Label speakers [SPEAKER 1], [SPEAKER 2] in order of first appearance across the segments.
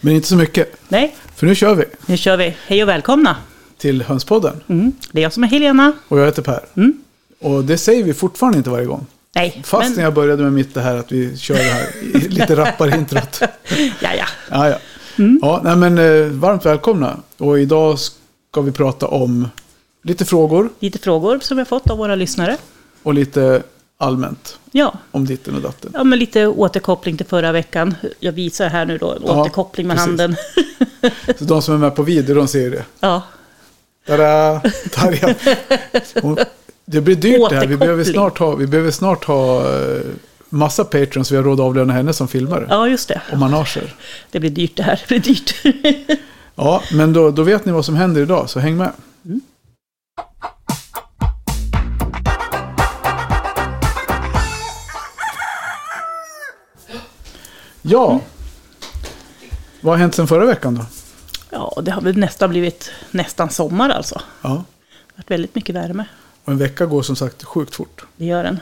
[SPEAKER 1] Men inte så mycket,
[SPEAKER 2] Nej,
[SPEAKER 1] för nu kör vi
[SPEAKER 2] nu kör vi. Hej och välkomna.
[SPEAKER 1] till Hönspodden.
[SPEAKER 2] Mm. Det är jag som är Helena.
[SPEAKER 1] Och jag heter Per.
[SPEAKER 2] Mm.
[SPEAKER 1] Och det säger vi fortfarande inte varje gång.
[SPEAKER 2] Nej,
[SPEAKER 1] Fast när
[SPEAKER 2] men...
[SPEAKER 1] jag började med mitt det här att vi kör det här i- lite rappare introt.
[SPEAKER 2] Ja, ja.
[SPEAKER 1] Ja, ja.
[SPEAKER 2] Mm.
[SPEAKER 1] Ja, nej, men, eh, varmt välkomna. Och idag ska vi prata om lite frågor
[SPEAKER 2] Lite frågor som jag fått av våra lyssnare.
[SPEAKER 1] och lite allmänt
[SPEAKER 2] Ja.
[SPEAKER 1] om ditten och datten.
[SPEAKER 2] ja, men lite återkoppling till förra veckan. Jag visar här nu då, en
[SPEAKER 1] Ja,
[SPEAKER 2] återkoppling med
[SPEAKER 1] precis.
[SPEAKER 2] handen.
[SPEAKER 1] Så de som är med på video, de ser ju det.
[SPEAKER 2] Ja,
[SPEAKER 1] Tada! Tarja. Hon- Det blir dyrt det här. Vi behöver
[SPEAKER 2] Återkoppling.
[SPEAKER 1] snart ha, vi behöver snart ha eh, massa patrons. Vi har råd att avlöna henne som filmare.
[SPEAKER 2] ja just det.
[SPEAKER 1] Och manager.
[SPEAKER 2] Det blir dyrt det här. Det blir dyrt.
[SPEAKER 1] Ja, men då, då vet ni vad som händer idag, så häng med.
[SPEAKER 2] Mm.
[SPEAKER 1] Ja. Vad har hänt sedan förra veckan då?
[SPEAKER 2] Ja, det har väl nästan blivit nästan sommar alltså.
[SPEAKER 1] Ja.
[SPEAKER 2] Det har varit väldigt mycket värme.
[SPEAKER 1] Och en vecka går som sagt sjukt fort.
[SPEAKER 2] Det gör den.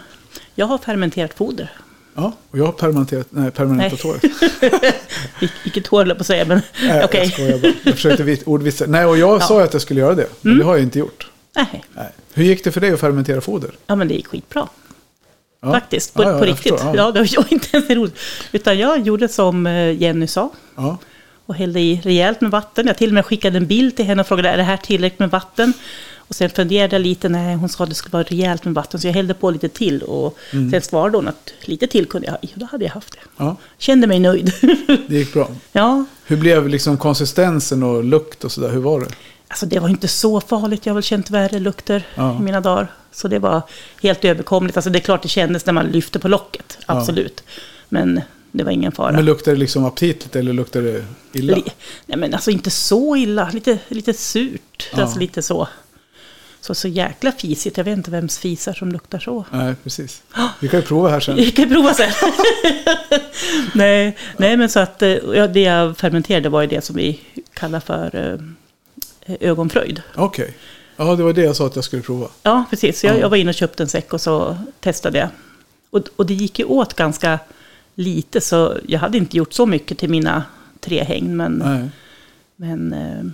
[SPEAKER 2] Jag har fermenterat foder.
[SPEAKER 1] Ja, och jag har permanentat, nej, permanentat
[SPEAKER 2] Nej.
[SPEAKER 1] håret.
[SPEAKER 2] Vil- Vilket hår höll jag på att säga, men
[SPEAKER 1] Nej,
[SPEAKER 2] okej.
[SPEAKER 1] jag skojar bara. Jag försökte vit- ordvitsa. Nej, och jag sa ju att jag skulle göra det. Men
[SPEAKER 2] Mm.
[SPEAKER 1] det har jag inte gjort.
[SPEAKER 2] Nej,
[SPEAKER 1] Nej. Hur gick det för dig att fermentera foder?
[SPEAKER 2] ja men det gick skitbra.
[SPEAKER 1] Ja.
[SPEAKER 2] Faktiskt, på,
[SPEAKER 1] Ja, ja,
[SPEAKER 2] på
[SPEAKER 1] jag
[SPEAKER 2] riktigt.
[SPEAKER 1] förstår.
[SPEAKER 2] ja.
[SPEAKER 1] ja.
[SPEAKER 2] det var inte ens roligt. Utan jag gjorde som eh, Jenny sa
[SPEAKER 1] Ja.
[SPEAKER 2] och hällde i rejält med vatten. Jag till och med skickade en bild till henne och frågade är det här tillräckligt med vatten. Och sen funderade jag lite, nej hon sa att det skulle vara rejält med vatten. Så jag hällde på lite till och
[SPEAKER 1] Mm.
[SPEAKER 2] sen svarade hon att lite till kunde jag ha i. Och då hade jag haft det.
[SPEAKER 1] ja,
[SPEAKER 2] Kände mig nöjd.
[SPEAKER 1] det gick bra.
[SPEAKER 2] ja,
[SPEAKER 1] Hur blev liksom konsistensen och lukt och sådär? Hur var det?
[SPEAKER 2] Alltså det var inte så farligt, jag har väl känt värre lukter
[SPEAKER 1] Ja.
[SPEAKER 2] i mina dagar. Så det var helt överkomligt. Alltså det är klart det kändes när man lyfte på locket, absolut. Men det var ingen fara.
[SPEAKER 1] Men luktade det liksom aptitligt eller luktade det illa?
[SPEAKER 2] Li- Nej men alltså inte så illa, lite, lite surt.
[SPEAKER 1] Ja.
[SPEAKER 2] Alltså lite så. så. Så jäkla fisigt, jag vet inte vems fisar som luktar så.
[SPEAKER 1] Nej, precis. Vi kan ju prova här sen.
[SPEAKER 2] Vi kan prova sen. nej, nej, men så att eh, ja, det jag fermenterade var ju det som vi kallar för eh, ögonfröjd.
[SPEAKER 1] Okej. Ja, det var det jag sa att jag skulle prova.
[SPEAKER 2] Ja, precis. Så Jag,
[SPEAKER 1] Ja.
[SPEAKER 2] jag var inne och köpte en säck och så testade jag. Och, och det gick ju åt ganska lite, så jag hade inte gjort så mycket till mina tre häng. Men,
[SPEAKER 1] Nej.
[SPEAKER 2] men eh,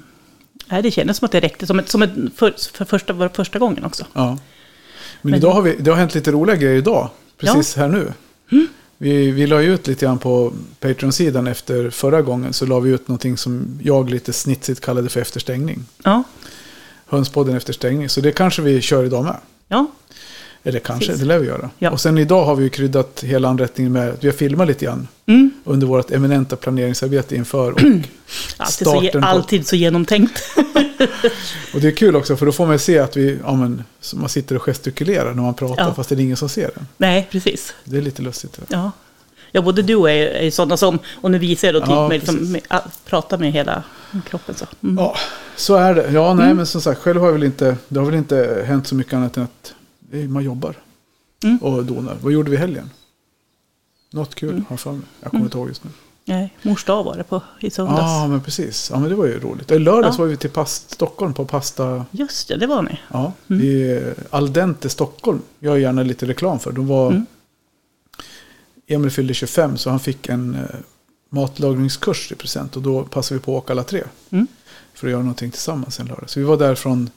[SPEAKER 2] nej, det kändes som att det räckte, som, ett, som ett, för, för första, var första gången också.
[SPEAKER 1] Ja. Men, idag har vi, det har hänt lite roliga grejer idag. Precis här nu.
[SPEAKER 2] Mm.
[SPEAKER 1] Vi, vi la ju ut lite grann på Patreon-sidan efter förra gången. Så la vi ut någonting som jag lite snitsigt kallade för efterstängning.
[SPEAKER 2] Ja,
[SPEAKER 1] Hönspodden efterstängning. Så det kanske vi kör idag med.
[SPEAKER 2] ja,
[SPEAKER 1] Eller kanske,
[SPEAKER 2] Precis.
[SPEAKER 1] det lär vi göra.
[SPEAKER 2] Ja.
[SPEAKER 1] Och sen idag har vi ju kryddat hela anrättningen med att vi har filmat lite grann.
[SPEAKER 2] Mm.
[SPEAKER 1] Under vårt eminenta planeringsarbete inför. Och,
[SPEAKER 2] alltid, så, ge-
[SPEAKER 1] Starten på-
[SPEAKER 2] alltid så genomtänkt.
[SPEAKER 1] och det är kul också för då får man se att vi, ja, men, så man sitter och gestikulerar när man pratar
[SPEAKER 2] Ja.
[SPEAKER 1] fast det är ingen som ser det.
[SPEAKER 2] nej, precis.
[SPEAKER 1] Det är lite lustigt. Det där.
[SPEAKER 2] Ja. Ja, både du och jag är, är sådana som, och nu visar jag då till
[SPEAKER 1] Ja,
[SPEAKER 2] mig, liksom,
[SPEAKER 1] precis.
[SPEAKER 2] med, att prata med hela kroppen så. Mm.
[SPEAKER 1] Ja, så är det. Ja, nej, men som sagt, själv har jag väl inte, det har väl inte hänt så mycket annat än att det är- man jobbar
[SPEAKER 2] Mm.
[SPEAKER 1] och donar. Vad gjorde vi i helgen? Något kul
[SPEAKER 2] Mm.
[SPEAKER 1] har jag för mig. Jag kommer inte ihåg just nu.
[SPEAKER 2] Nej, mors dag var det på, i
[SPEAKER 1] Ja,
[SPEAKER 2] söndags.
[SPEAKER 1] men precis. Ja, men det var ju roligt. I lördags
[SPEAKER 2] Ja.
[SPEAKER 1] var vi till past, Stockholm på Pasta...
[SPEAKER 2] Just det, det var ni.
[SPEAKER 1] Ja,
[SPEAKER 2] Mm.
[SPEAKER 1] i eh, Al Dente Stockholm. Jag gör gärna lite reklam för. De var...
[SPEAKER 2] Mm.
[SPEAKER 1] Emil fyllde 25 så han fick en eh, matlagningskurs i present. Och då passade vi på att åka alla tre.
[SPEAKER 2] Mm.
[SPEAKER 1] För att göra någonting tillsammans en lördag. Så vi var där från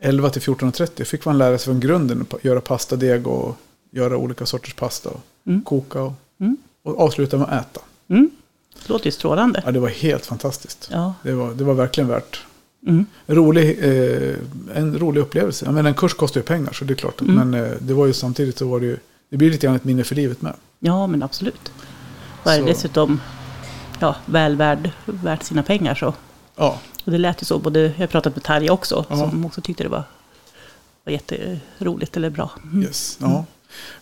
[SPEAKER 1] 11 till 14.30. Fick man lära sig från grunden att pa- göra pastadeg och göra olika sorters pasta. Och Koka och,
[SPEAKER 2] Mm.
[SPEAKER 1] och avsluta med att äta.
[SPEAKER 2] Mm. Det låter ju strålande.
[SPEAKER 1] Ja, det var helt fantastiskt.
[SPEAKER 2] Ja.
[SPEAKER 1] Det, var, det var verkligen värt.
[SPEAKER 2] Mm.
[SPEAKER 1] Rolig, eh, en rolig upplevelse. Men en kurs kostar ju pengar så det är klart.
[SPEAKER 2] Mm.
[SPEAKER 1] Men eh, det var ju samtidigt så var det ju, det blir lite grann ett minne för livet med.
[SPEAKER 2] ja, men absolut. Och är
[SPEAKER 1] Så-
[SPEAKER 2] det dessutom ja, väl värd, värt sina pengar så.
[SPEAKER 1] Ja,
[SPEAKER 2] Och det lät ju så, både, jag har pratat med Tarja också,
[SPEAKER 1] Ja.
[SPEAKER 2] som också tyckte det var, var jätteroligt eller bra.
[SPEAKER 1] yes. Ja.
[SPEAKER 2] Mm.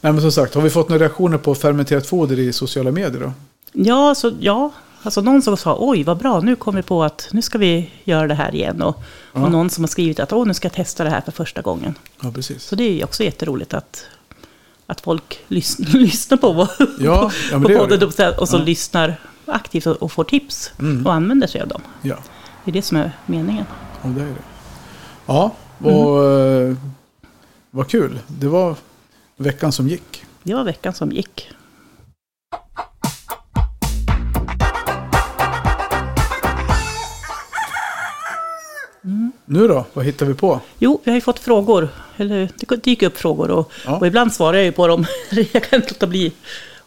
[SPEAKER 1] Nej men som sagt, har vi fått några reaktioner på fermenterat foder i sociala medier då?
[SPEAKER 2] Ja, så, ja, alltså någon som sa oj vad bra, nu kom vi på att nu ska vi göra det här igen. Och,
[SPEAKER 1] Ja.
[SPEAKER 2] och någon som har skrivit att åh, nu ska jag testa det här för första gången.
[SPEAKER 1] Ja, precis.
[SPEAKER 2] Så det är ju också jätteroligt att, att folk lys- lyssnar på vad
[SPEAKER 1] Ja, ja men
[SPEAKER 2] på
[SPEAKER 1] det gör
[SPEAKER 2] podden
[SPEAKER 1] det.
[SPEAKER 2] och så- och så
[SPEAKER 1] Ja. Mm.
[SPEAKER 2] lyssnar aktivt och- och får tips och använder sig av dem.
[SPEAKER 1] Ja,
[SPEAKER 2] Det är det som är meningen.
[SPEAKER 1] och det är det. Ja, och eh, vad kul. Det var veckan som gick.
[SPEAKER 2] Det var veckan som gick.
[SPEAKER 1] Nu då? Vad hittar vi på?
[SPEAKER 2] Jo, vi har ju fått frågor. Eller det dyker upp frågor och,
[SPEAKER 1] Ja.
[SPEAKER 2] och ibland svarar jag ju på dem. jag kan inte låta bli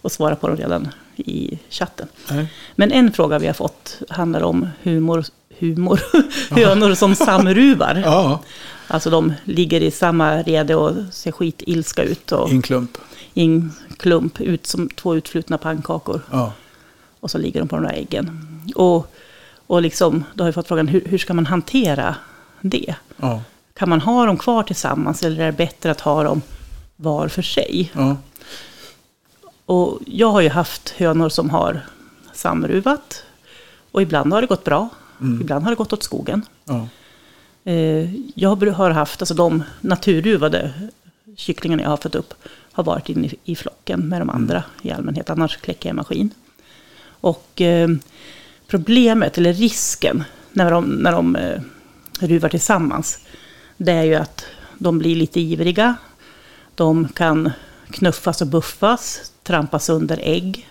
[SPEAKER 2] att svara på dem redan i chatten.
[SPEAKER 1] Nej.
[SPEAKER 2] Men en fråga vi har fått handlar om humor, humor hönor som samruvar.
[SPEAKER 1] Ja,
[SPEAKER 2] Alltså de ligger i samma rede och ser skitilska ut och
[SPEAKER 1] i en klump.
[SPEAKER 2] i en klump ut som två utflutna pannkakor.
[SPEAKER 1] Ja.
[SPEAKER 2] Och så ligger de på de där äggen. Och, och liksom, då har vi fått frågan hur, hur ska man hantera det?
[SPEAKER 1] Ja.
[SPEAKER 2] Kan man ha dem kvar tillsammans eller är det bättre att ha dem var för sig?
[SPEAKER 1] Ja.
[SPEAKER 2] Och jag har ju haft hönor som har samruvat. Och ibland har det gått bra. Ibland har det gått åt skogen.
[SPEAKER 1] Ja.
[SPEAKER 2] Eh, jag br- har haft, alltså de naturruvade kycklingarna jag har fått upp har varit inne i- i flocken med de andra i allmänhet, annars kläcker jag i maskin. Och eh, problemet, eller risken, när de, när de eh, ruvar tillsammans, det är ju att de blir lite ivriga. De kan knuffas och buffas, trampas under ägg.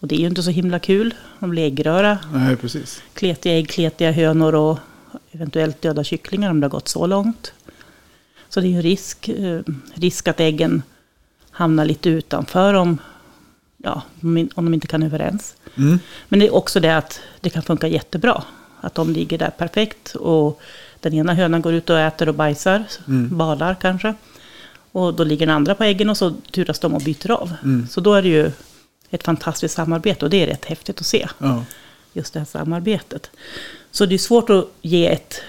[SPEAKER 2] Och det är ju inte så himla kul. De blir äggröra,
[SPEAKER 1] Nej, precis.
[SPEAKER 2] kletiga ägg, kletiga hönor och eventuellt döda kycklingar om det har gått så långt. Så det är ju en risk, eh, risk att äggen hamnar lite utanför om, ja, om in- om de inte kan överens.
[SPEAKER 1] Mm.
[SPEAKER 2] Men det är också det att det kan funka jättebra. Att de ligger där perfekt och den ena hönan går ut och äter och bajsar, balar kanske. Och då ligger den andra på äggen och så turas de och byter av. Så då är det ju ett fantastiskt samarbete och det är rätt häftigt att se
[SPEAKER 1] Ja.
[SPEAKER 2] just det här samarbetet. Så det är svårt att ge ett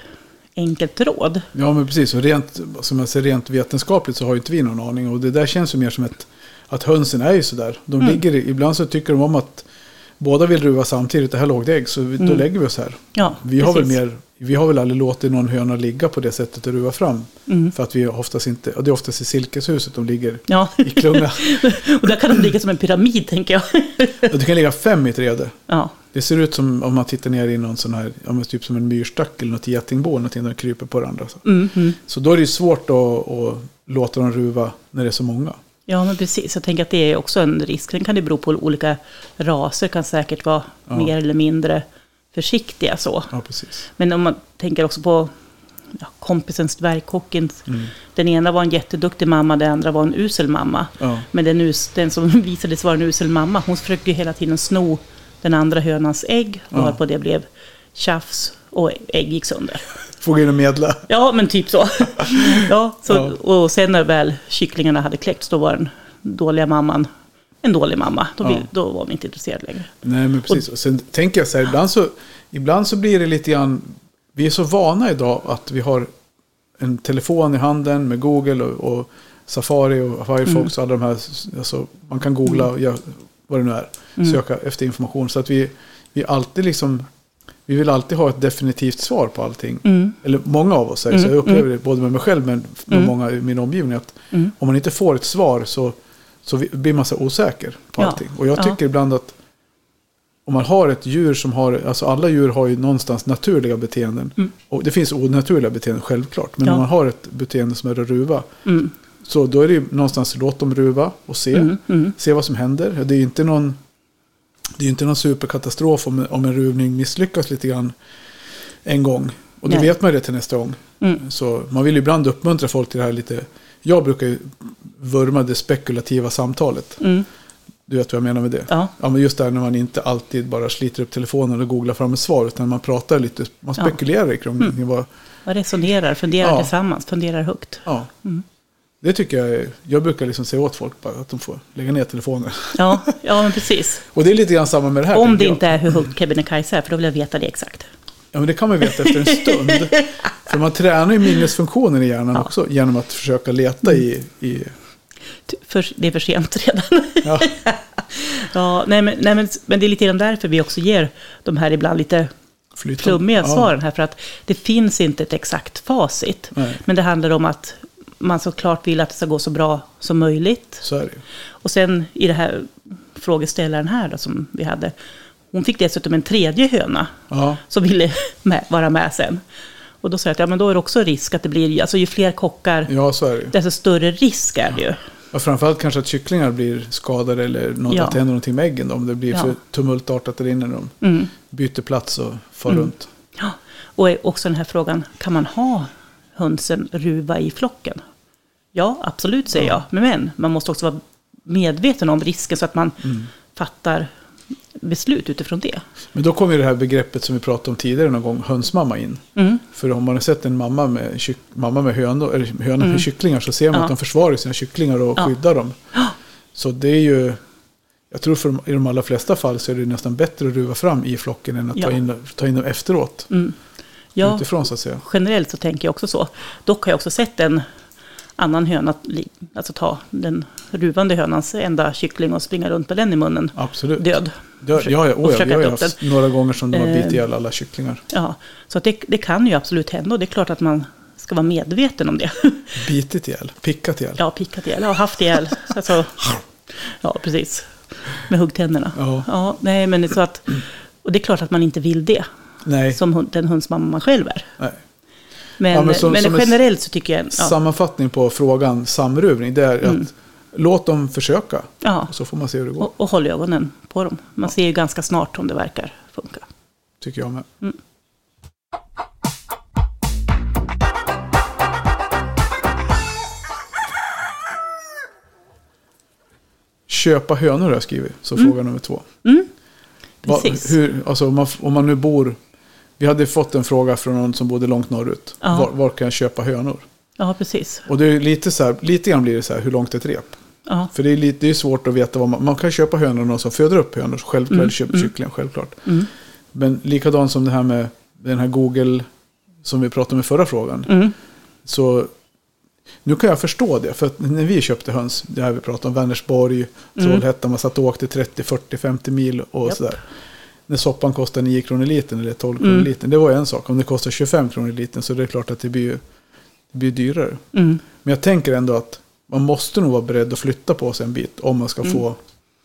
[SPEAKER 2] enkelt råd.
[SPEAKER 1] ja, men precis. Och rent, som jag säger, rent vetenskapligt så har ju inte vi någon aning. Och det där känns ju mer som ett, att hönsen är ju sådär. De ligger, i- ibland så tycker de om att båda vill ruva samtidigt. Det här låg det ägg, så vi, då lägger vi oss här.
[SPEAKER 2] Ja,
[SPEAKER 1] Vi har, väl
[SPEAKER 2] precis.
[SPEAKER 1] mer, vi har väl aldrig låtit någon höna ligga på det sättet och ruva fram.
[SPEAKER 2] Mm.
[SPEAKER 1] För att vi oftast inte, och det är oftast i silkeshuset de ligger
[SPEAKER 2] Ja.
[SPEAKER 1] i klunga.
[SPEAKER 2] och där kan de ligga som en pyramid, tänker jag.
[SPEAKER 1] Och det kan ligga fem i ett rede.
[SPEAKER 2] ja.
[SPEAKER 1] Det ser ut som om man tittar ner i någon sån här, ja, men typ som en myrstack eller något getingbo, eller någonting där de kryper på varandra. Så,
[SPEAKER 2] Mm, mm.
[SPEAKER 1] så då är det ju svårt att, att låta dem ruva när det är så många.
[SPEAKER 2] ja, men precis. Jag tänker att det är också en risk. Sen kan det bero på olika raser, kan säkert vara
[SPEAKER 1] Ja.
[SPEAKER 2] mer eller mindre försiktiga så.
[SPEAKER 1] Ja, precis.
[SPEAKER 2] Men om man tänker också på ja, kompisens dvärgkocken.
[SPEAKER 1] Mm.
[SPEAKER 2] Den ena var en jätteduktig mamma, den andra var en usel mamma.
[SPEAKER 1] Ja.
[SPEAKER 2] Men den, us, den som visades vara en usel mamma, hon försökte ju hela tiden sno den andra hönans ägg.
[SPEAKER 1] Ja.
[SPEAKER 2] Varpå det blev tjafs och ägg gick sönder.
[SPEAKER 1] Får gå in och medla.
[SPEAKER 2] Ja, men typ så. ja, så
[SPEAKER 1] Ja.
[SPEAKER 2] Och sen när väl kycklingarna hade kläckts, då var den dåliga mamman en dålig mamma. Då, vill,
[SPEAKER 1] Ja.
[SPEAKER 2] då var hon inte intresserad längre.
[SPEAKER 1] Nej, men precis. Och sen tänker jag så här, ibland så, ibland så blir det lite grann, vi är så vana idag att vi har en telefon i handen med Google och, och Safari och
[SPEAKER 2] Mm.
[SPEAKER 1] Firefox och alla de här, alltså, man kan googla och göra vad det nu är,
[SPEAKER 2] Mm.
[SPEAKER 1] söka efter information. Så att vi, vi alltid liksom, vi vill alltid ha ett definitivt svar på allting.
[SPEAKER 2] Mm.
[SPEAKER 1] Eller många av oss säger så, jag upplever det både med mig själv men med många i min omgivning, att
[SPEAKER 2] Mm.
[SPEAKER 1] om man inte får ett svar så, så vi- blir man så osäker på
[SPEAKER 2] Ja.
[SPEAKER 1] allting. Och jag
[SPEAKER 2] Ja.
[SPEAKER 1] tycker ibland att om man har ett djur som har, alltså alla djur har ju någonstans naturliga beteenden. Och det finns onaturliga beteenden självklart. Men
[SPEAKER 2] Mm. Ja. Mm.
[SPEAKER 1] om man har ett beteende som är att ruva. Så då är det ju någonstans låt dem ruva och se.
[SPEAKER 2] mm.
[SPEAKER 1] Se vad som händer. Det är ju inte någon, det är ju inte någon superkatastrof om, om en ruvning misslyckas lite grann en gång. Och då
[SPEAKER 2] Nej. Mm.
[SPEAKER 1] vet man ju det till nästa gång. Så man vill ju ibland uppmuntra folk till det här lite. Jag brukar ju vurma det spekulativa samtalet.
[SPEAKER 2] Mm.
[SPEAKER 1] Du vet vad jag menar med det?
[SPEAKER 2] Ja.
[SPEAKER 1] Ja, men just det här när man inte alltid bara sliter upp telefonen och googlar fram ett svar. Utan man pratar lite, man
[SPEAKER 2] Ja. Mm.
[SPEAKER 1] spekulerar i kring vad...
[SPEAKER 2] Man resonerar, funderar
[SPEAKER 1] Ja.
[SPEAKER 2] tillsammans, funderar högt.
[SPEAKER 1] Ja.
[SPEAKER 2] Mm.
[SPEAKER 1] Det tycker jag är- Jag brukar liksom säga åt folk bara att de får lägga ner telefonen.
[SPEAKER 2] Ja, ja men precis.
[SPEAKER 1] Och det är lite grann samma med det här.
[SPEAKER 2] Om
[SPEAKER 1] tänker
[SPEAKER 2] det
[SPEAKER 1] jag.
[SPEAKER 2] inte är hur högt Kebnekaise är, för då vill jag veta det exakt.
[SPEAKER 1] Ja, men det kan man veta efter en stund. För man tränar ju minnesfunktionen i hjärnan också genom att försöka leta i... i
[SPEAKER 2] Ty- För, det är för sent redan.
[SPEAKER 1] ja,
[SPEAKER 2] ja, nej, men, nej, men, men det är lite grann därför vi också ger de här ibland lite
[SPEAKER 1] flytta.
[SPEAKER 2] flummiga
[SPEAKER 1] Ja.
[SPEAKER 2] svaren här. För att det finns inte ett exakt facit.
[SPEAKER 1] Nej.
[SPEAKER 2] Men det handlar om att man såklart vill att det ska gå så bra som möjligt.
[SPEAKER 1] Så är det ju.
[SPEAKER 2] Och sen i det här frågeställaren här då, som vi hade. Hon fick dessutom en tredje höna
[SPEAKER 1] Ja,
[SPEAKER 2] som ville med, vara med sen. Och då sa jag att ja, men då är det också risk att det blir, alltså ju fler kockar,
[SPEAKER 1] ja, så är det ju.
[SPEAKER 2] desto alltså, större risk är det ju.
[SPEAKER 1] Ja, framförallt kanske att kycklingar blir skadade eller något,
[SPEAKER 2] Ja.
[SPEAKER 1] att det händer någonting med äggen. då, Om det blir
[SPEAKER 2] Ja. Mm.
[SPEAKER 1] för tumultartat där inne när de byter plats och far runt.
[SPEAKER 2] Ja. Och är också den här frågan, kan man ha hönsen ruva i flocken? Ja, absolut säger jag. Men man måste också vara medveten om risken så att man
[SPEAKER 1] Mm.
[SPEAKER 2] fattar beslut utifrån det.
[SPEAKER 1] Men då kommer ju det här begreppet som vi pratade om tidigare någon gång, hönsmamma in.
[SPEAKER 2] Mm.
[SPEAKER 1] För om man har sett en mamma med, kyck, mamma med hönor, eller hönor med kycklingar så ser man
[SPEAKER 2] Mm. Ja.
[SPEAKER 1] att de försvarar sina kycklingar och
[SPEAKER 2] Ja.
[SPEAKER 1] skyddar dem. Så det är ju, jag tror för, de- i de allra flesta fall så är det nästan bättre att ruva fram i flocken än att
[SPEAKER 2] Ja. Mm,
[SPEAKER 1] ta, in, ta in dem efteråt.
[SPEAKER 2] Ja,
[SPEAKER 1] Utifrån så att säga.
[SPEAKER 2] generellt så tänker jag också så. Dock har jag också sett en annan höna, li- alltså ta den ruvande hönans enda kyckling och springa runt med den i munnen.
[SPEAKER 1] Absolut.
[SPEAKER 2] Död.
[SPEAKER 1] Ja, ja, ja,
[SPEAKER 2] och
[SPEAKER 1] oh ja, vi
[SPEAKER 2] försöka
[SPEAKER 1] har ju
[SPEAKER 2] ta upp
[SPEAKER 1] haft några gånger som de har bitit
[SPEAKER 2] Eh.
[SPEAKER 1] ihjäl alla kycklingar.
[SPEAKER 2] Ja, så att det, det kan ju absolut hända och det är klart att man ska vara medveten om det.
[SPEAKER 1] Bitit ihjäl, pickat ihjäl.
[SPEAKER 2] Ja, pickat ihjäl, ja, haft ihjäl. Alltså, ja, precis. Med huggtänderna.
[SPEAKER 1] Ja.
[SPEAKER 2] nej, men det är så att, och det är klart att man inte vill det,
[SPEAKER 1] Nej.
[SPEAKER 2] som hund, den hundsmamma man själv är.
[SPEAKER 1] nej.
[SPEAKER 2] Men,
[SPEAKER 1] Ja, men
[SPEAKER 2] men,
[SPEAKER 1] som- som ett-
[SPEAKER 2] generellt så tycker jag... Ja, Mm.
[SPEAKER 1] Sammanfattning på frågan samruvning, det är att låt dem försöka.
[SPEAKER 2] ja,
[SPEAKER 1] Och så får man se hur det går,
[SPEAKER 2] och, och håll ögonen på dem. Man ser ju ganska snart om det verkar funka.
[SPEAKER 1] tycker jag med.
[SPEAKER 2] Mm.
[SPEAKER 1] Köpa hönor har jag skrivit, så fråga nummer två. Va,
[SPEAKER 2] Mm. Precis.
[SPEAKER 1] hur, alltså om, man, om man nu bor... Vi hade fått en fråga från någon som bodde långt norrut.
[SPEAKER 2] Ja.
[SPEAKER 1] Var, var kan jag köpa hönor?
[SPEAKER 2] Ja, precis.
[SPEAKER 1] Och det är ju lite, så här, lite grann blir det så här, hur långt är ett rep?
[SPEAKER 2] Ja,
[SPEAKER 1] För det är, lite, det är svårt att veta vad man... Man kan köpa hönor av någon som föder upp hönor. Självklart, eller köper kycklingar, självklart. Men likadant som det här med den här Google som vi pratade om i förra frågan.
[SPEAKER 2] Mm,
[SPEAKER 1] Så nu kan jag förstå det. För att när vi köpte höns, det här vi pratade om, Vänersborg, Trollhättan, man satt och åkte 30, 40, 50 mil och
[SPEAKER 2] Japp.
[SPEAKER 1] sådär. När soppan kostar 9 kronor litern eller 12 kronor litern, det var ju en sak. Om det kostar 25 kronor litern så är det klart att det blir, ju- det blir dyrare.
[SPEAKER 2] mm.
[SPEAKER 1] Men jag tänker ändå att man måste nog vara beredd att flytta på sig en bit om man ska
[SPEAKER 2] Mm.
[SPEAKER 1] få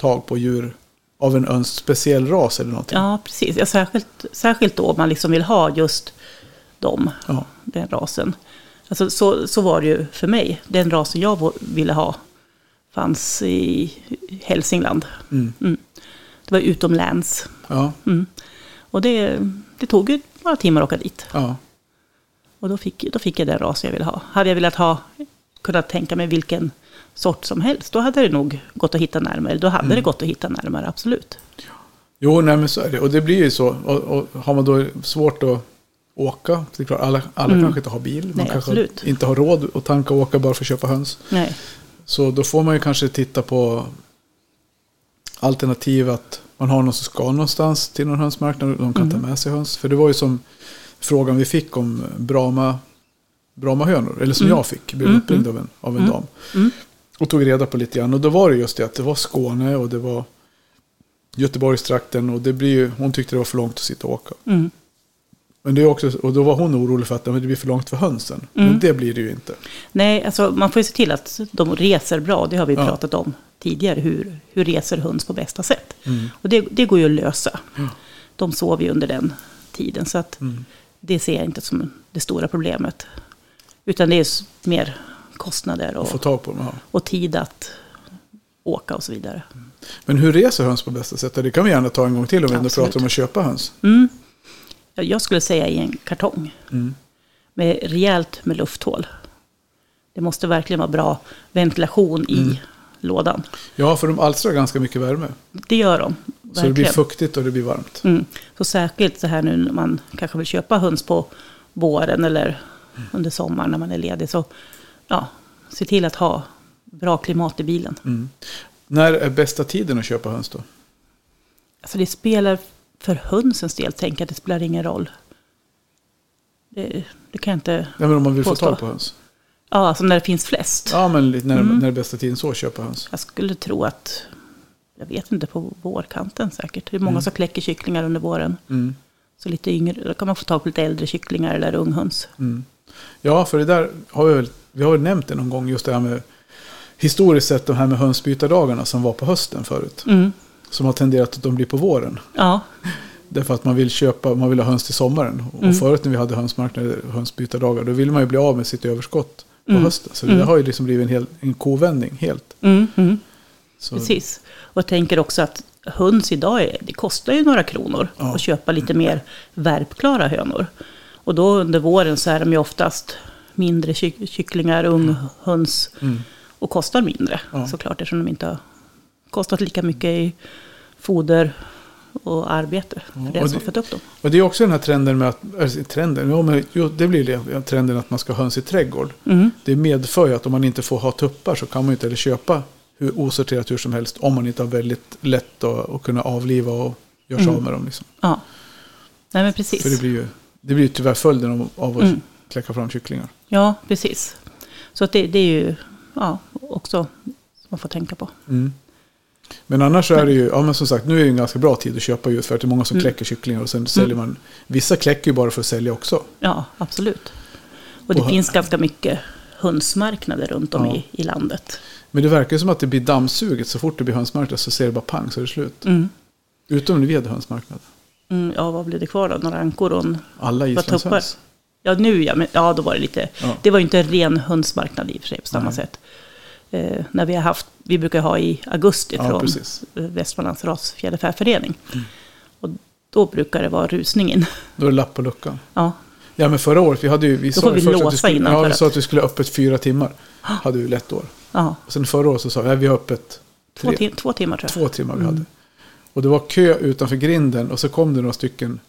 [SPEAKER 1] tag på djur av en öns speciell ras eller någonting.
[SPEAKER 2] ja precis. Ja, särskilt, särskilt då om man liksom vill ha just dem.
[SPEAKER 1] Ja.
[SPEAKER 2] den rasen. Alltså, så, så var det ju för mig. Den rasen jag vo- ville ha fanns i Hälsingland. Mm. Det var utomlands.
[SPEAKER 1] Ja.
[SPEAKER 2] Och det, det tog ju några timmar att åka dit.
[SPEAKER 1] ja.
[SPEAKER 2] Och då fick, då fick jag den rasen jag ville ha. Hade jag velat ha, kunnat tänka mig vilken sort som helst, då hade det nog gått att hitta närmare. Då hade det gått att hitta närmare, absolut.
[SPEAKER 1] Jo, nej men så är det. Och det blir ju så. Och, och har man då svårt att åka, det är klart, alla, alla kanske inte har bil. Man
[SPEAKER 2] Mm. Nej,
[SPEAKER 1] kanske
[SPEAKER 2] absolut.
[SPEAKER 1] inte har råd att tanka och åka bara för att köpa höns.
[SPEAKER 2] Nej.
[SPEAKER 1] Så då får man ju kanske titta på alternativ att man har någon som ska någonstans till någon hönsmarknad och de kan ta med sig höns. För det var ju som frågan vi fick om Brahma, Brahmahönor, eller som jag fick, blev uppringd av en, av en dam. Och tog reda på lite grann. Och då var det just det att det var Skåne och det var Göteborgstrakten och det blir ju, hon tyckte det var för långt att sitta och åka.
[SPEAKER 2] Mm.
[SPEAKER 1] Men det är också, och då var hon orolig för att "Ja, men det blir för långt för hönsen. Men det blir det ju inte.
[SPEAKER 2] Nej, alltså man får ju se till att de reser bra. Det har vi
[SPEAKER 1] Ja.
[SPEAKER 2] pratat om tidigare, hur, hur reser höns på bästa sätt.
[SPEAKER 1] Mm.
[SPEAKER 2] Och det, det går ju att lösa. De sover ju under den tiden, så att
[SPEAKER 1] Mm.
[SPEAKER 2] det ser jag inte som det stora problemet. Utan det är s- mer kostnader
[SPEAKER 1] Att få
[SPEAKER 2] och,
[SPEAKER 1] tag på dem. Ja.
[SPEAKER 2] och tid att åka och så vidare.
[SPEAKER 1] Men hur reser höns på bästa sätt? Det kan vi gärna ta en gång till om vi ändå
[SPEAKER 2] Absolut.
[SPEAKER 1] pratar om att köpa höns.
[SPEAKER 2] Jag- Mm. Jag skulle säga i en kartong.
[SPEAKER 1] Mm.
[SPEAKER 2] Med rejält med lufthål. Det måste verkligen vara bra ventilation i
[SPEAKER 1] Mm.
[SPEAKER 2] lådan.
[SPEAKER 1] Ja, för de alstrar ganska mycket värme.
[SPEAKER 2] Det gör de.
[SPEAKER 1] Så det blir
[SPEAKER 2] verkligen.
[SPEAKER 1] fuktigt och det blir varmt.
[SPEAKER 2] Mm. Så särskilt så här nu när man kanske vill köpa höns på våren eller under sommaren när man är ledig. Så ja, se till att ha bra klimat i bilen.
[SPEAKER 1] När är bästa tiden att köpa höns då?
[SPEAKER 2] Alltså det spelar för hönsens del, tänker jag, det spelar ingen roll. Det, det kan jag inte...
[SPEAKER 1] Ja, men om man vill få
[SPEAKER 2] Påstå.
[SPEAKER 1] tag på höns.
[SPEAKER 2] Ja, alltså när det finns flest.
[SPEAKER 1] Ja, men li- när,
[SPEAKER 2] Mm.
[SPEAKER 1] när är bästa tiden så att köpa höns?
[SPEAKER 2] Jag skulle tro att, jag vet inte, på vårkanten säkert. Det är många
[SPEAKER 1] Mm.
[SPEAKER 2] som kläcker kycklingar under våren. Så lite yngre, då kan man få tag på lite äldre kycklingar eller unghöns.
[SPEAKER 1] Mm. Ja, för det där har vi väl vi har väl nämnt det någon gång, just det här med historiskt sett de här med hönsbytardagarna som var på hösten förut. Som har tenderat att de blir på våren.
[SPEAKER 2] Mm. Ja,
[SPEAKER 1] Därför att man vill köpa, man vill ha höns till sommaren.
[SPEAKER 2] Mm.
[SPEAKER 1] Och förut när vi hade hönsmarknader, hönsbytardagar, då ville man ju bli av med sitt överskott på
[SPEAKER 2] Mm.
[SPEAKER 1] hösten. Så det där har ju liksom blivit en, hel, en kovändning helt. Så,
[SPEAKER 2] Mm, Precis. Och jag tänker också att höns idag, är, det kostar ju några kronor
[SPEAKER 1] Ja.
[SPEAKER 2] att köpa lite mer värpklara hönor. Och Och då under våren så är de ju oftast mindre kyck- kycklingar, unghöns och kostar mindre
[SPEAKER 1] Mm. Ja.
[SPEAKER 2] såklart eftersom de inte har kostat lika mycket i foder och arbete för den
[SPEAKER 1] och
[SPEAKER 2] som
[SPEAKER 1] det-
[SPEAKER 2] fött upp dem.
[SPEAKER 1] Och det är också den här trenden med att, alltså, trenden, ja, men, jo, det blir det, trenden att man ska ha höns i trädgård.
[SPEAKER 2] Mm.
[SPEAKER 1] Det medför ju att om man inte får ha tuppar så kan man ju inte heller köpa hur osorterat hur som helst om man inte har väldigt lätt att, att kunna avliva och göra sig av med dem. Liksom.
[SPEAKER 2] Ja, nej men Mm. precis. Mm.
[SPEAKER 1] För det blir ju, det blir ju tyvärr följden av, av att kläcka fram kycklingar.
[SPEAKER 2] Ja, precis. Så att det, det är ju ja, också som man får tänka på.
[SPEAKER 1] Mm. Men annars så är det ju, ja men som sagt, nu är det ju en ganska bra tid att köpa just för att det är många som
[SPEAKER 2] Mm.
[SPEAKER 1] kläcker kycklingar och sen säljer man. Vissa kläcker ju bara för att sälja också.
[SPEAKER 2] Ja, absolut. Och det
[SPEAKER 1] Och-
[SPEAKER 2] finns ganska mycket hönsmarknader runt om
[SPEAKER 1] Ja.
[SPEAKER 2] i, i landet.
[SPEAKER 1] Men det verkar ju som att det blir dammsuget så fort det blir hönsmarknad så ser det bara pang så är det slut.
[SPEAKER 2] Mm.
[SPEAKER 1] Utom när vi hade hönsmarknad.
[SPEAKER 2] Mm, ja, vad blev det kvar då? Några ankor och en...
[SPEAKER 1] Alla
[SPEAKER 2] Vad tuppar?
[SPEAKER 1] islandshöns.
[SPEAKER 2] Ja, nu ja. Men, ja, då var det lite...
[SPEAKER 1] Ja.
[SPEAKER 2] Det var ju inte en ren hönsmarknad i och för sig på samma
[SPEAKER 1] Nej.
[SPEAKER 2] sätt. Eh, när vi har haft... Vi brukar ha i augusti
[SPEAKER 1] Ja,
[SPEAKER 2] från
[SPEAKER 1] precis.
[SPEAKER 2] eh, Västmanlands rasfjäderfäförening. Och då brukar det vara rusning in.
[SPEAKER 1] Då är det lapp på luckan.
[SPEAKER 2] ja,
[SPEAKER 1] Ja men förra året, vi hade ju, vi
[SPEAKER 2] Då
[SPEAKER 1] sa
[SPEAKER 2] får
[SPEAKER 1] ju
[SPEAKER 2] vi
[SPEAKER 1] först att
[SPEAKER 2] låsa
[SPEAKER 1] vi skulle,
[SPEAKER 2] innan
[SPEAKER 1] ja,
[SPEAKER 2] för
[SPEAKER 1] vi sa
[SPEAKER 2] att-
[SPEAKER 1] att vi skulle ha öppet fyra timmar. Hade vi lätt år.
[SPEAKER 2] ja.
[SPEAKER 1] Och sen förra året så sa vi, nej vi har öppet
[SPEAKER 2] Två,
[SPEAKER 1] tre,
[SPEAKER 2] tim- två timmar Mm. tror jag.
[SPEAKER 1] två timmar vi hade. Och det var kö utanför grinden och så kom det några stycken,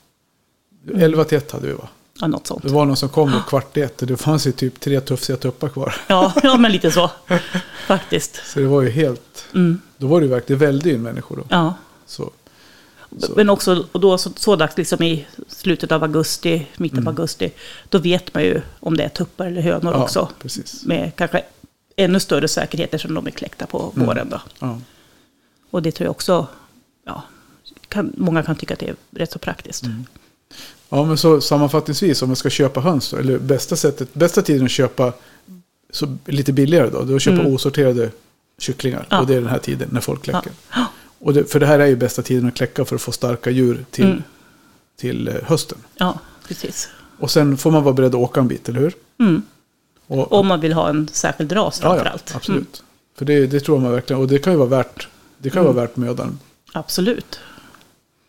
[SPEAKER 1] 11 till 1 hade vi va?
[SPEAKER 2] Ja, något sånt.
[SPEAKER 1] Det var någon som kom då kvart i ett och det fanns ju typ tre tufsiga tuppar kvar.
[SPEAKER 2] Ja, ja, men lite så. Faktiskt.
[SPEAKER 1] Så det var ju helt, då var det ju verkligen, det vällde ju in människor då.
[SPEAKER 2] Mm. Ja.
[SPEAKER 1] Så,
[SPEAKER 2] Men också, och då så, så dags liksom i slutet av augusti, mitten av augusti, då vet man ju om det är tuppar eller hönor
[SPEAKER 1] Mm. ja,
[SPEAKER 2] också.
[SPEAKER 1] precis.
[SPEAKER 2] Med kanske ännu större säkerhet eftersom de är kläckta på
[SPEAKER 1] Mm.
[SPEAKER 2] våren då.
[SPEAKER 1] Ja.
[SPEAKER 2] Och det tror jag också, ja, kan, många kan tycka att det är rätt så praktiskt.
[SPEAKER 1] Mm, Ja, men så sammanfattningsvis om man ska köpa höns då, eller bästa sättet, bästa tiden att köpa så lite billigare då, det är att köpa osorterade kycklingar.
[SPEAKER 2] Mm. Ja.
[SPEAKER 1] Och det är den här tiden när folk kläcker. Och det, för det här är ju bästa tiden att kläcka för att få starka djur till,
[SPEAKER 2] Mm.
[SPEAKER 1] till eh, hösten.
[SPEAKER 2] Ja, precis. Mm.
[SPEAKER 1] Och sen får man vara beredd att åka en bit, eller hur? Och,
[SPEAKER 2] Om man vill ha en särskild ras
[SPEAKER 1] ja,
[SPEAKER 2] framför
[SPEAKER 1] ja,
[SPEAKER 2] allt.
[SPEAKER 1] absolut.
[SPEAKER 2] Mm,
[SPEAKER 1] För det, det tror man verkligen, och det kan ju vara värt, det kan ju
[SPEAKER 2] Mm.
[SPEAKER 1] vara värt mödan.
[SPEAKER 2] absolut.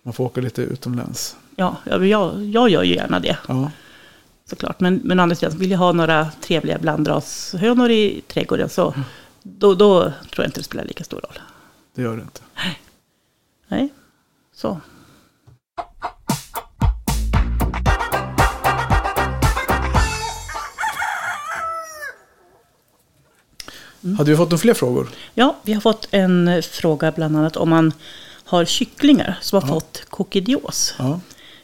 [SPEAKER 1] Man får åka lite utomlands.
[SPEAKER 2] Ja, jag, jag, jag gör ju gärna det.
[SPEAKER 1] Ja,
[SPEAKER 2] såklart. Men, men å andra sidan, vill jag ha några trevliga blandrashönor i trädgården så
[SPEAKER 1] Mm.
[SPEAKER 2] då, då tror jag inte det spelar lika stor roll.
[SPEAKER 1] det gör det inte.
[SPEAKER 2] Nej, så. Mm.
[SPEAKER 1] Hade vi fått några fler frågor?
[SPEAKER 2] Ja, vi har fått en eh, fråga bland annat om man har kycklingar som har fått kokidios.
[SPEAKER 1] Ja.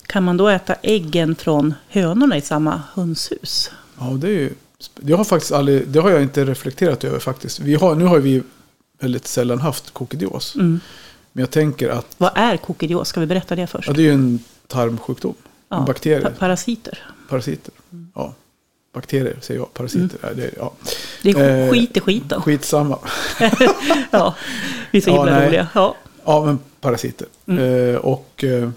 [SPEAKER 2] Kan man då äta äggen från hönorna i samma hönshus?
[SPEAKER 1] Ja, det är ju... Jag har faktiskt aldrig, det har jag inte reflekterat över faktiskt. Vi har, nu har vi väldigt sällan haft kokidios.
[SPEAKER 2] Mm.
[SPEAKER 1] Men jag tänker att
[SPEAKER 2] Vad är kokidios? Ska vi berätta det först?
[SPEAKER 1] ja, det är ju en tarmsjukdom. En bakterie,
[SPEAKER 2] pa- parasiter.
[SPEAKER 1] parasiter. Ja. Bakterier säger jag, parasiter. Ja, det är, ja.
[SPEAKER 2] Mm. Det är
[SPEAKER 1] Eh,
[SPEAKER 2] skit i skiten.
[SPEAKER 1] Skitsamma.
[SPEAKER 2] ja, vi är så
[SPEAKER 1] Ja,
[SPEAKER 2] himla
[SPEAKER 1] nej.
[SPEAKER 2] roliga. Ja.
[SPEAKER 1] Ja, men parasiter.
[SPEAKER 2] Mm.
[SPEAKER 1] Eh, och eh,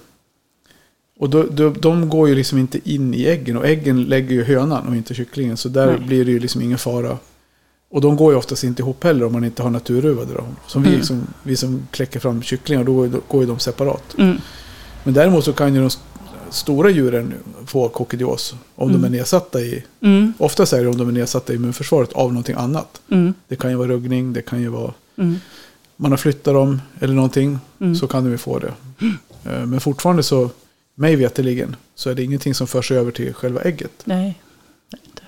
[SPEAKER 1] och då, då, de går ju liksom inte in i äggen. Och äggen lägger ju hönan och inte kycklingen. Så där
[SPEAKER 2] Nej.
[SPEAKER 1] blir det ju liksom ingen fara. Och de går ju oftast inte ihop heller om man inte har naturruvade. Då. Som vi,
[SPEAKER 2] Mm.
[SPEAKER 1] som, vi som kläcker fram kycklingar, då går, ju- då går ju de separat.
[SPEAKER 2] Mm.
[SPEAKER 1] Men däremot så kan ju de st- stora djuren få kokidios om de är nedsatta i...
[SPEAKER 2] Mm,
[SPEAKER 1] Oftast är det om de är nedsatta i immunförsvaret av någonting annat.
[SPEAKER 2] mm,
[SPEAKER 1] Det kan ju vara ruggning, det kan ju vara
[SPEAKER 2] mm.
[SPEAKER 1] man har flyttat dem eller någonting så kan de ju få det. Eh, Men fortfarande så, mig veterligen, så är det ingenting som förs över till själva ägget.
[SPEAKER 2] Nej. Nej, inte.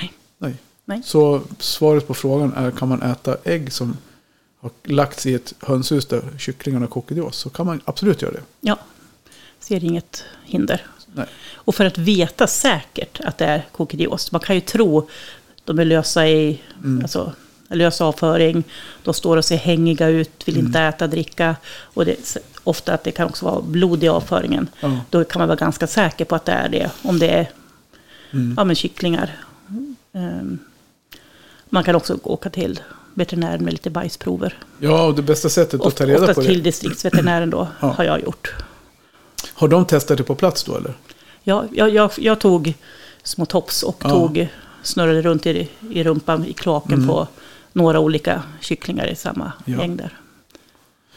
[SPEAKER 2] Nej.
[SPEAKER 1] Nej.
[SPEAKER 2] Nej.
[SPEAKER 1] Så svaret på frågan är, kan man äta ägg som har lagts i ett hönshus där kycklingarna kokar i oss? Så kan man absolut göra det.
[SPEAKER 2] Ja, ser inget hinder.
[SPEAKER 1] Nej.
[SPEAKER 2] Och för att veta säkert att det är kokidios, man kan ju tro de är lösa i alltså, lös avföring, de står och ser hängiga ut, vill inte äta, dricka. Och det, är ofta att det kan också vara blod i avföringen.
[SPEAKER 1] Ja.
[SPEAKER 2] Då kan man vara ganska säker på att det är det, om det är ja, men kycklingar. Ehm, man kan också åka till veterinären med lite bajsprover.
[SPEAKER 1] Ja, och det bästa sättet att
[SPEAKER 2] Oft,
[SPEAKER 1] ta reda
[SPEAKER 2] oftast
[SPEAKER 1] på
[SPEAKER 2] till
[SPEAKER 1] det.
[SPEAKER 2] distriktsveterinären då,
[SPEAKER 1] Ja.
[SPEAKER 2] har jag gjort.
[SPEAKER 1] Har de testat det på plats då eller?
[SPEAKER 2] Ja, jag, jag, jag tog små tops och
[SPEAKER 1] Ja. Mm.
[SPEAKER 2] tog, snurrade runt i, i rumpan, i klaken på några olika kycklingar i samma
[SPEAKER 1] Ja.
[SPEAKER 2] gäng där.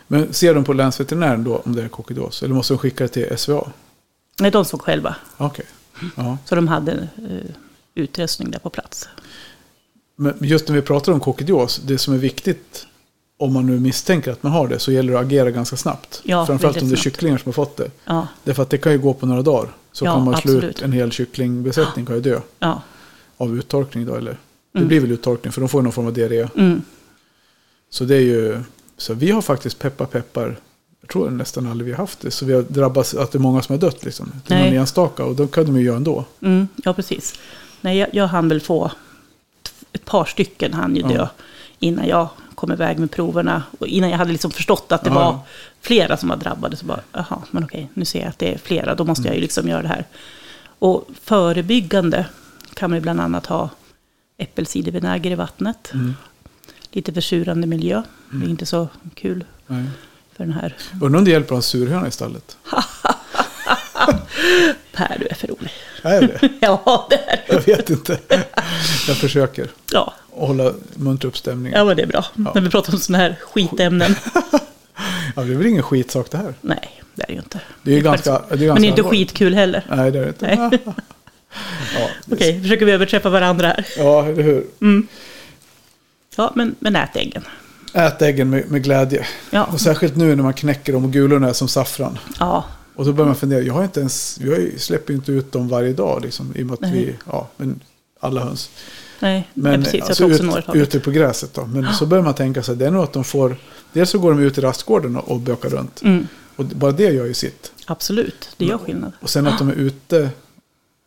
[SPEAKER 1] Men ser de på länsveterinären då om det är kokidos? Eller måste de skicka det till SVA?
[SPEAKER 2] Nej, de såg själva.
[SPEAKER 1] Okej. Ja.
[SPEAKER 2] Så de hade eh, utrustning där på plats.
[SPEAKER 1] Men just när vi pratar om kokidios, det som är viktigt om man nu misstänker att man har det så gäller det att agera ganska snabbt.
[SPEAKER 2] Ja,
[SPEAKER 1] Framförallt
[SPEAKER 2] väldigt
[SPEAKER 1] om det är
[SPEAKER 2] snabbt.
[SPEAKER 1] kycklingar som har fått det.
[SPEAKER 2] Ja,
[SPEAKER 1] Därför att det kan ju gå på några dagar. Så
[SPEAKER 2] Ja,
[SPEAKER 1] kan man slå ut
[SPEAKER 2] absolut.
[SPEAKER 1] en hel kycklingbesättning kan ju dö
[SPEAKER 2] ja.
[SPEAKER 1] av uttorkning då. Eller? Det blir väl uttorkning för de får ju någon form av diarré.
[SPEAKER 2] Mm.
[SPEAKER 1] Så det är ju, så vi har faktiskt peppar peppar, jag tror nästan aldrig vi har haft det. Så vi har drabbats att det är många som har dött liksom. Det är
[SPEAKER 2] Nej.
[SPEAKER 1] någon enstaka och då kan de ju göra ändå.
[SPEAKER 2] Mm, ja, precis. Nej, jag, jag hann väl få t- ett par stycken hann ju dö
[SPEAKER 1] Ja.
[SPEAKER 2] innan jag kom iväg med proverna. Och innan jag hade liksom förstått att det
[SPEAKER 1] Ja,
[SPEAKER 2] var
[SPEAKER 1] ja.
[SPEAKER 2] flera som var drabbade. Så bara, jaha, men okej, nu ser jag att det är flera, då måste jag
[SPEAKER 1] Mm.
[SPEAKER 2] ju liksom göra det här. Och förebyggande kan man ju bland annat ha äppelcidervinäger i vattnet.
[SPEAKER 1] Mm.
[SPEAKER 2] Lite försurande miljö, det är inte så kul
[SPEAKER 1] Nej.
[SPEAKER 2] för den här.
[SPEAKER 1] Undrar om det hjälper att ha en surhöna i stallet?
[SPEAKER 2] Per, du är för rolig.
[SPEAKER 1] Är det?
[SPEAKER 2] ja, det är du.
[SPEAKER 1] Jag vet inte. Jag försöker
[SPEAKER 2] Ja,
[SPEAKER 1] hålla muntra upp stämningen.
[SPEAKER 2] Ja, men det är bra. När vi pratar om sådana här skitämnen.
[SPEAKER 1] Ja, det är väl ingen skitsak det här.
[SPEAKER 2] Nej, det är det ju inte.
[SPEAKER 1] Det är ju
[SPEAKER 2] faktiskt-
[SPEAKER 1] ganska, det är ganska
[SPEAKER 2] Men det är inte
[SPEAKER 1] allvarligt.
[SPEAKER 2] skitkul heller.
[SPEAKER 1] Nej, det är det inte.
[SPEAKER 2] Nej.
[SPEAKER 1] Ja, det-
[SPEAKER 2] Okej, Mm. försöker vi överträffa varandra här.
[SPEAKER 1] ja, eller hur?
[SPEAKER 2] Ja, men, men ät äggen.
[SPEAKER 1] Ät äggen med, med glädje.
[SPEAKER 2] Ja.
[SPEAKER 1] Och särskilt nu när man knäcker dem och gulorna är som saffran.
[SPEAKER 2] Ja,
[SPEAKER 1] Och då börjar man fundera, jag, har inte ens, jag släpper ju inte ut dem varje dag. Liksom, I och med att
[SPEAKER 2] Nej.
[SPEAKER 1] vi, ja, men alla höns.
[SPEAKER 2] nej,
[SPEAKER 1] Men
[SPEAKER 2] nej precis. Jag
[SPEAKER 1] alltså,
[SPEAKER 2] tar också
[SPEAKER 1] ut,
[SPEAKER 2] några ut.
[SPEAKER 1] ute på gräset då. Men så börjar man tänka sig, det är nog att de får, dels så går de ut i rastgården och, och bökar runt.
[SPEAKER 2] Mm,
[SPEAKER 1] Och det- bara det gör ju sitt.
[SPEAKER 2] absolut, det gör skillnad.
[SPEAKER 1] Och sen att de är ute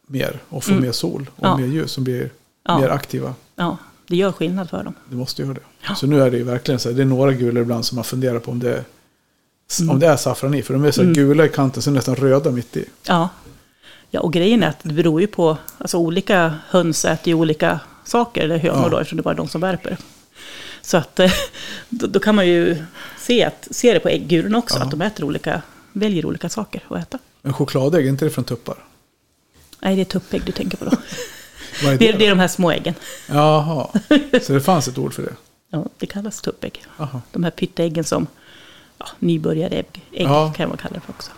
[SPEAKER 1] mer och får mer sol och
[SPEAKER 2] Mm. Ja.
[SPEAKER 1] mer ljus och blir
[SPEAKER 2] Ja.
[SPEAKER 1] mer aktiva.
[SPEAKER 2] Ja, det gör skillnad för dem.
[SPEAKER 1] Det måste göra det. Så nu är det ju verkligen så här, det är några gulor ibland som man funderar på om det är,
[SPEAKER 2] Mm.
[SPEAKER 1] om det är saffran i. För de är så här gula i kanten, sen nästan röda mitt i.
[SPEAKER 2] Ja. ja, och grejen är att det beror ju på, alltså olika höns äter ju olika saker, eller hönor
[SPEAKER 1] Ja.
[SPEAKER 2] då, eftersom det bara är de som värper. Så att eh, då, då kan man ju se, att, se det på äggulorna också,
[SPEAKER 1] Ja.
[SPEAKER 2] att de äter olika, väljer olika saker att äta.
[SPEAKER 1] Men chokladägg, är inte det från tuppar?
[SPEAKER 2] Nej, det är tuppägg du tänker på då.
[SPEAKER 1] Vad är
[SPEAKER 2] Det
[SPEAKER 1] det?
[SPEAKER 2] är, det är de här små äggen.
[SPEAKER 1] Jaha, så det fanns ett ord för det?
[SPEAKER 2] Ja, det kallas tuppägg.
[SPEAKER 1] Aha.
[SPEAKER 2] De här pytteäggen som ja, nybörjarägg ägg
[SPEAKER 1] Ja.
[SPEAKER 2] kan man kalla det för också.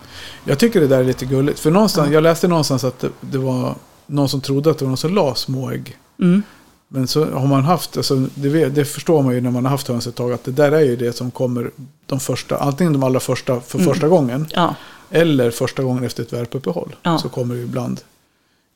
[SPEAKER 1] Jag tycker det där är lite gulligt. För någonstans, jag läste någonstans att det, det var någon som trodde att det var någon som la små ägg.
[SPEAKER 2] Mm.
[SPEAKER 1] Men så har man haft, alltså, det, vet- det förstår man ju när man har haft höns ett tag, att det där är ju det som kommer de första, antingen de allra första för första gången,
[SPEAKER 2] Mm. Ja,
[SPEAKER 1] eller första gången efter ett värpuppehåll.
[SPEAKER 2] Ja.
[SPEAKER 1] Så kommer det ibland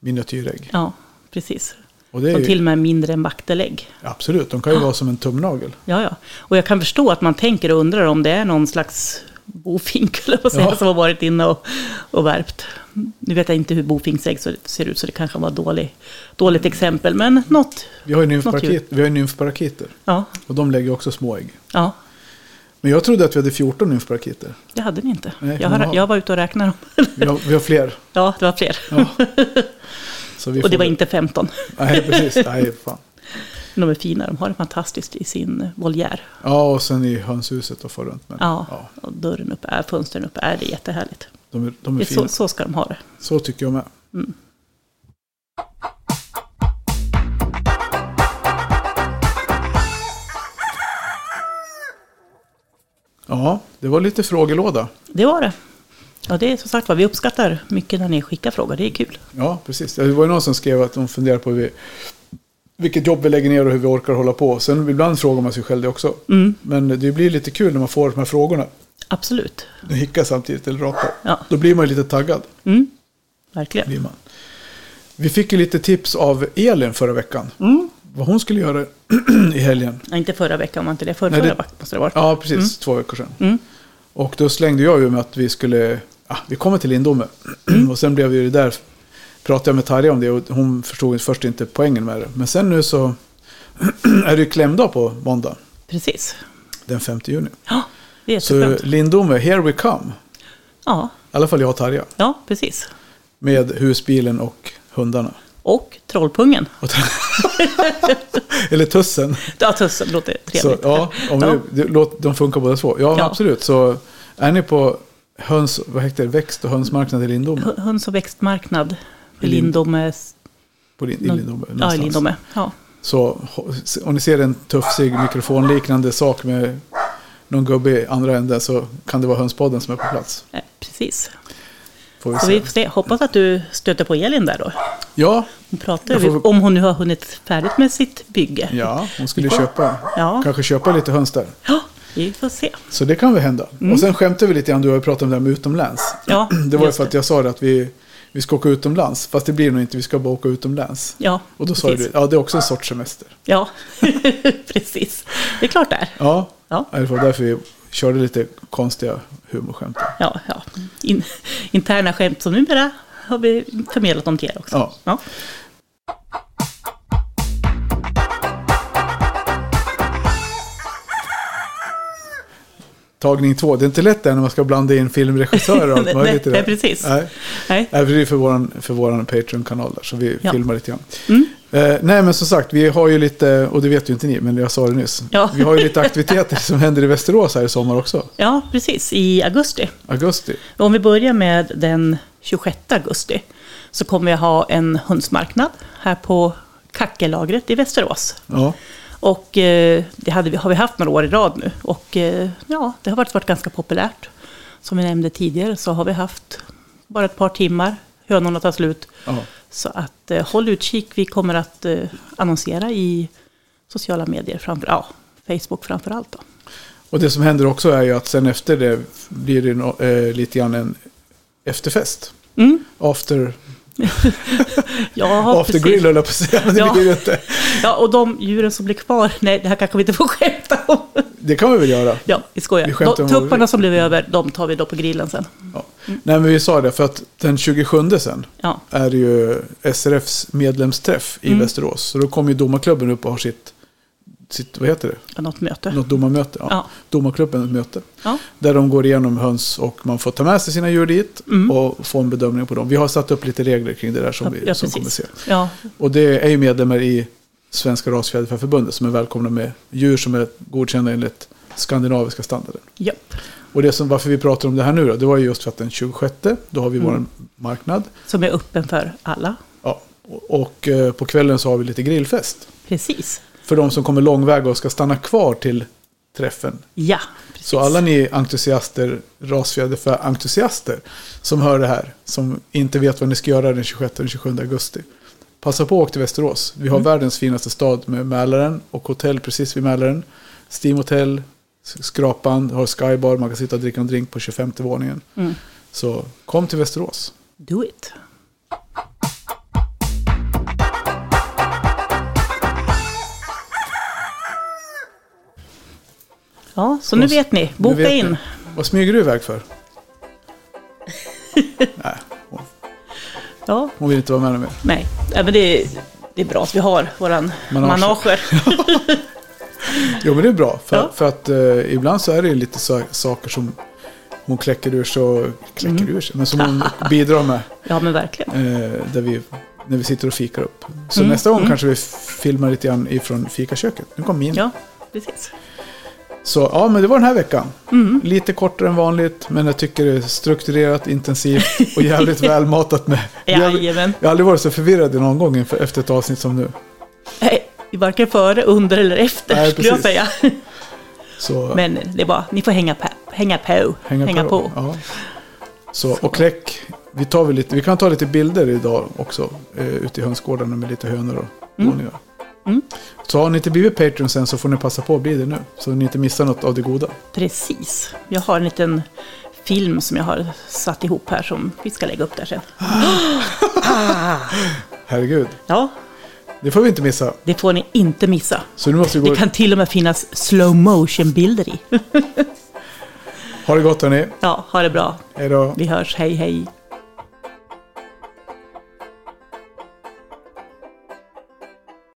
[SPEAKER 1] miniatyrägg.
[SPEAKER 2] ja, precis.
[SPEAKER 1] Och det är
[SPEAKER 2] Som till
[SPEAKER 1] ju,
[SPEAKER 2] och med är mindre än vaktelägg.
[SPEAKER 1] absolut, de kan ju vara som en tumnagel.
[SPEAKER 2] Ja, ja. Och jag kan förstå att man tänker och undrar om det är någon slags bofink, eller vad säger
[SPEAKER 1] Ja.
[SPEAKER 2] jag, som har varit inne och, och värpt. Nu vet jag inte hur bofinksägg så- ser ut, så det kanske var dålig, dåligt exempel. Men något,
[SPEAKER 1] Vi har ju
[SPEAKER 2] djur.
[SPEAKER 1] nymfparakit- vi har ju nymfparakiter.
[SPEAKER 2] ja,
[SPEAKER 1] Och de lägger också små ägg.
[SPEAKER 2] ja,
[SPEAKER 1] Men jag trodde att vi hade 14 nymfparakiter.
[SPEAKER 2] det hade ni inte.
[SPEAKER 1] Nej,
[SPEAKER 2] jag,
[SPEAKER 1] jaha.
[SPEAKER 2] har, jag var ute och räknade dem.
[SPEAKER 1] Vi har, vi har fler.
[SPEAKER 2] Ja, det var fler.
[SPEAKER 1] Ja. Så vi
[SPEAKER 2] Och det
[SPEAKER 1] får-
[SPEAKER 2] var inte 15.
[SPEAKER 1] Nej, precis. Nej, fan.
[SPEAKER 2] De är fina, de har det fantastiskt i sin voljär.
[SPEAKER 1] Ja, och sen i hönshuset och få runt med.
[SPEAKER 2] Ja, och dörren uppe, är, fönstren uppe, är det är jättehärligt.
[SPEAKER 1] de är, de är
[SPEAKER 2] Det är
[SPEAKER 1] fina.
[SPEAKER 2] så, Mm.
[SPEAKER 1] Så...
[SPEAKER 2] så ska de ha det.
[SPEAKER 1] tycker jag med. Ja, det var lite frågelåda.
[SPEAKER 2] Det var det. Ja, det är som sagt vad vi uppskattar mycket när ni skickar frågor, det är kul.
[SPEAKER 1] Ja, precis. Det var ju någon som skrev att de funderar på hur vi, vilket jobb vi lägger ner och hur vi orkar hålla på. Sen ibland frågar man sig själv det också.
[SPEAKER 2] Mm.
[SPEAKER 1] Men det blir lite kul när man får de här frågorna.
[SPEAKER 2] Absolut,
[SPEAKER 1] Nu hickar samtidigt, eller rapar.
[SPEAKER 2] Ja.
[SPEAKER 1] Då blir man ju lite taggad.
[SPEAKER 2] verkligen.
[SPEAKER 1] Blir man. Vi fick ju lite tips av Elin förra veckan. Vad hon skulle göra i helgen.
[SPEAKER 2] Nej, inte förra veckan var inte det, förra,
[SPEAKER 1] Nej, det-
[SPEAKER 2] förra veckan måste det ha varit.
[SPEAKER 1] Ja, precis. Två veckor sedan. Och då slängde jag ju med att vi skulle... Ja, vi kommer till Lindome. och sen blev ju det där... Pratade jag med Tarja om det och hon förstod ju först inte poängen med det. Men sen nu så är det ju klämdag på måndag.
[SPEAKER 2] Precis.
[SPEAKER 1] Den 5 juni.
[SPEAKER 2] Ja, det är
[SPEAKER 1] Så eh,
[SPEAKER 2] jätteskönt.
[SPEAKER 1] Lindome, here we come.
[SPEAKER 2] Ja,
[SPEAKER 1] I alla fall jag och Tarja.
[SPEAKER 2] ja, precis.
[SPEAKER 1] Med husbilen och hundarna.
[SPEAKER 2] Och trollpungen.
[SPEAKER 1] Och t- Eller tussen.
[SPEAKER 2] Ja, tussen låter
[SPEAKER 1] Så,
[SPEAKER 2] trevligt.
[SPEAKER 1] ja, om
[SPEAKER 2] Ja.
[SPEAKER 1] Vi, det, låt, de funkar båda två. Ja, men
[SPEAKER 2] Ja.
[SPEAKER 1] absolut. Så är ni på höns, vad heter det, växt och hönsmarknad i Lindome?
[SPEAKER 2] H- Höns och växtmarknad i
[SPEAKER 1] I Lind-
[SPEAKER 2] Lindome.
[SPEAKER 1] På Lin- I Lindome,
[SPEAKER 2] Ja, i
[SPEAKER 1] någonstans.
[SPEAKER 2] Lindome. Ja.
[SPEAKER 1] Så ho- se- om ni ser en tuffsig mikrofonliknande sak med någon gubbe i andra änden så kan det vara hönspodden som är på plats.
[SPEAKER 2] Eh, Precis.
[SPEAKER 1] Får vi
[SPEAKER 2] Så
[SPEAKER 1] se.
[SPEAKER 2] vi får se. Hoppas att du stöter på Elin där då.
[SPEAKER 1] Ja,
[SPEAKER 2] Hon pratar
[SPEAKER 1] Jag
[SPEAKER 2] ju
[SPEAKER 1] får-
[SPEAKER 2] om hon nu har hunnit färdigt med sitt bygge.
[SPEAKER 1] ja, hon skulle köpa.
[SPEAKER 2] Ja.
[SPEAKER 1] Kanske köpa lite höns där.
[SPEAKER 2] Ja, vi får se.
[SPEAKER 1] Så det kan väl hända. Och sen skämtade vi lite grann, du har ju pratat om det här med utomlands.
[SPEAKER 2] Mm. Ja,
[SPEAKER 1] Det var ju
[SPEAKER 2] just
[SPEAKER 1] för att jag sa det att vi, vi ska åka utomlands. Fast det blir nog inte, vi ska bara åka utomlands.
[SPEAKER 2] Ja,
[SPEAKER 1] Och då sa
[SPEAKER 2] precis.
[SPEAKER 1] du, ja det är också en sorts semester.
[SPEAKER 2] Ja, precis. Det är klart det är.
[SPEAKER 1] Ja,
[SPEAKER 2] Ja.
[SPEAKER 1] det var därför vi körde lite konstiga humorskämt.
[SPEAKER 2] Ja, ja. In, interna skämt som numera har vi förmedlat dem till er också.
[SPEAKER 1] Ja.
[SPEAKER 2] Ja.
[SPEAKER 1] Tagning två, det är inte lätt där när man ska blanda in filmregissörer och allt
[SPEAKER 2] Nej,
[SPEAKER 1] möjligt i det.
[SPEAKER 2] nej, precis.
[SPEAKER 1] Nej.
[SPEAKER 2] Nej.
[SPEAKER 1] Nej, för det är för våran, för våran Patreon-kanal där, så vi
[SPEAKER 2] Ja. Mm.
[SPEAKER 1] filmar lite grann. Eh, nej, men som sagt, vi har ju lite, och det vet ju inte ni, men jag sa det nyss.
[SPEAKER 2] Ja.
[SPEAKER 1] Vi har ju lite aktiviteter som händer i Västerås här i sommar också,
[SPEAKER 2] ja, precis. I augusti.
[SPEAKER 1] augusti.
[SPEAKER 2] Om vi börjar med den 26 augusti så kommer jag ha en hundsmarknad här på Kackelagret i Västerås.
[SPEAKER 1] Ja,
[SPEAKER 2] Och eh, det hade vi, har vi haft några år i rad nu. Och eh, ja, det har varit, varit ganska populärt. Som vi nämnde tidigare så har vi haft bara ett par timmar. Hönorna tar slut.
[SPEAKER 1] ja.
[SPEAKER 2] Så att eh, håll utkik. Vi kommer att eh, annonsera i sociala medier, framför, ja, Facebook framför allt. Då.
[SPEAKER 1] Och det som händer också är ju att sen efter det blir det no, eh, lite grann en efterfest.
[SPEAKER 2] Mm.
[SPEAKER 1] After,
[SPEAKER 2] Jag har
[SPEAKER 1] after
[SPEAKER 2] precis-
[SPEAKER 1] grill höll jag på att säga, men det
[SPEAKER 2] Ja.
[SPEAKER 1] blir ju inte.
[SPEAKER 2] Ja, och de djuren som blir kvar, nej, det här kanske vi inte får skämta om.
[SPEAKER 1] Det kan vi väl göra.
[SPEAKER 2] Ja, vi skojar.
[SPEAKER 1] Vi skämtar
[SPEAKER 2] De-
[SPEAKER 1] om vad vi
[SPEAKER 2] Tupparna som blev över, de tar vi då på grillen sen.
[SPEAKER 1] Ja. Nej, men vi sa det, för att den 27 sen,
[SPEAKER 2] Ja,
[SPEAKER 1] är ju SRFs medlemsträff i
[SPEAKER 2] Mm.
[SPEAKER 1] Västerås. Så då kommer ju domarklubben upp och har sitt, sitt vad heter det?
[SPEAKER 2] något möte.
[SPEAKER 1] Något domarmöte. Ja.
[SPEAKER 2] Ja.
[SPEAKER 1] Domarklubbens möte.
[SPEAKER 2] Ja,
[SPEAKER 1] Där de går igenom höns och man får ta med sig sina djur dit och få en bedömning på dem. Vi har satt upp lite regler kring det där som vi
[SPEAKER 2] Mm. ja,
[SPEAKER 1] som kommer se.
[SPEAKER 2] Ja,
[SPEAKER 1] Och det är ju medlemmar i Svenska Rasfjäderfäförbundet som är välkomna med djur som är godkända enligt skandinaviska standarden.
[SPEAKER 2] japp.
[SPEAKER 1] Och det som, varför vi pratar om det här nu då, det var ju just för att den 26, då har vi vår marknad.
[SPEAKER 2] Som är öppen för alla.
[SPEAKER 1] Ja, och, och eh, på kvällen så har vi lite grillfest.
[SPEAKER 2] Precis.
[SPEAKER 1] För de som kommer långväga och ska stanna kvar till träffen.
[SPEAKER 2] Ja, precis.
[SPEAKER 1] Så alla ni entusiaster, rasfjäderfä-entusiaster som hör det här, som inte vet vad ni ska göra den 26 och den 27 augusti. Passa på att åka till Västerås. Vi har
[SPEAKER 2] Mm.
[SPEAKER 1] världens finaste stad med Mälaren och hotell precis vid Mälaren. Steam Hotel, Skrapan, har Skybar, man kan sitta och dricka en drink på 25 våningen.
[SPEAKER 2] Mm.
[SPEAKER 1] Så kom till Västerås.
[SPEAKER 2] Do it. Ja, så nu
[SPEAKER 1] Och s-
[SPEAKER 2] vet ni.
[SPEAKER 1] Nu
[SPEAKER 2] Boka
[SPEAKER 1] vet
[SPEAKER 2] in.
[SPEAKER 1] ni. Vad smyger du iväg för? Nej, hon-
[SPEAKER 2] Ja,
[SPEAKER 1] hon vill inte vara med mer.
[SPEAKER 2] nej. Ja, men det, är- det är bra att vi har våran
[SPEAKER 1] Manager.
[SPEAKER 2] manager.
[SPEAKER 1] Jo, men det är bra. För,
[SPEAKER 2] Ja.
[SPEAKER 1] för att eh, ibland så är det ju lite så, saker som hon kläcker ur sig och kläcker
[SPEAKER 2] Mm.
[SPEAKER 1] ur sig, men som hon bidrar med
[SPEAKER 2] Ja, men verkligen.
[SPEAKER 1] eh, där vi, när vi sitter och fikar upp. Så
[SPEAKER 2] Mm.
[SPEAKER 1] nästa gång kanske vi filmar lite grann ifrån fikaköket. Nu kom min.
[SPEAKER 2] Ja, precis. Mm.
[SPEAKER 1] Så ja, men det var den här veckan. Lite kortare än vanligt, men jag tycker det är strukturerat, intensivt och jävligt välmatat med.
[SPEAKER 2] Jajamän.
[SPEAKER 1] Jag har aldrig varit så förvirrad i någon gång inför- efter ett avsnitt som nu.
[SPEAKER 2] Nej, varken före, under eller efter
[SPEAKER 1] Nej,
[SPEAKER 2] skulle jag
[SPEAKER 1] precis.
[SPEAKER 2] säga.
[SPEAKER 1] Så
[SPEAKER 2] Men det är bara, ni får hänga på. Hänga på.
[SPEAKER 1] hänga, på. Ja. Så, och kläck. Vi, tar väl lite, vi kan ta lite bilder idag också eh, ute i hönsgårdarna med lite hönor och honungar.
[SPEAKER 2] Mm.
[SPEAKER 1] Så har ni inte blivit Patreon sen så får ni passa på att bli det nu. Så ni inte missar något av det goda.
[SPEAKER 2] Precis. Jag har en liten film som jag har satt ihop här som vi ska lägga upp där sen.
[SPEAKER 1] Herregud,
[SPEAKER 2] Ja,
[SPEAKER 1] det får vi inte missa.
[SPEAKER 2] det får ni inte missa.
[SPEAKER 1] Så nu måste vi gå.
[SPEAKER 2] Det kan till och med finnas slow motion-bilder i.
[SPEAKER 1] Ha det gott hörni.
[SPEAKER 2] Ja, ha det bra.
[SPEAKER 1] Hej då.
[SPEAKER 2] Vi hörs. Hej, hej.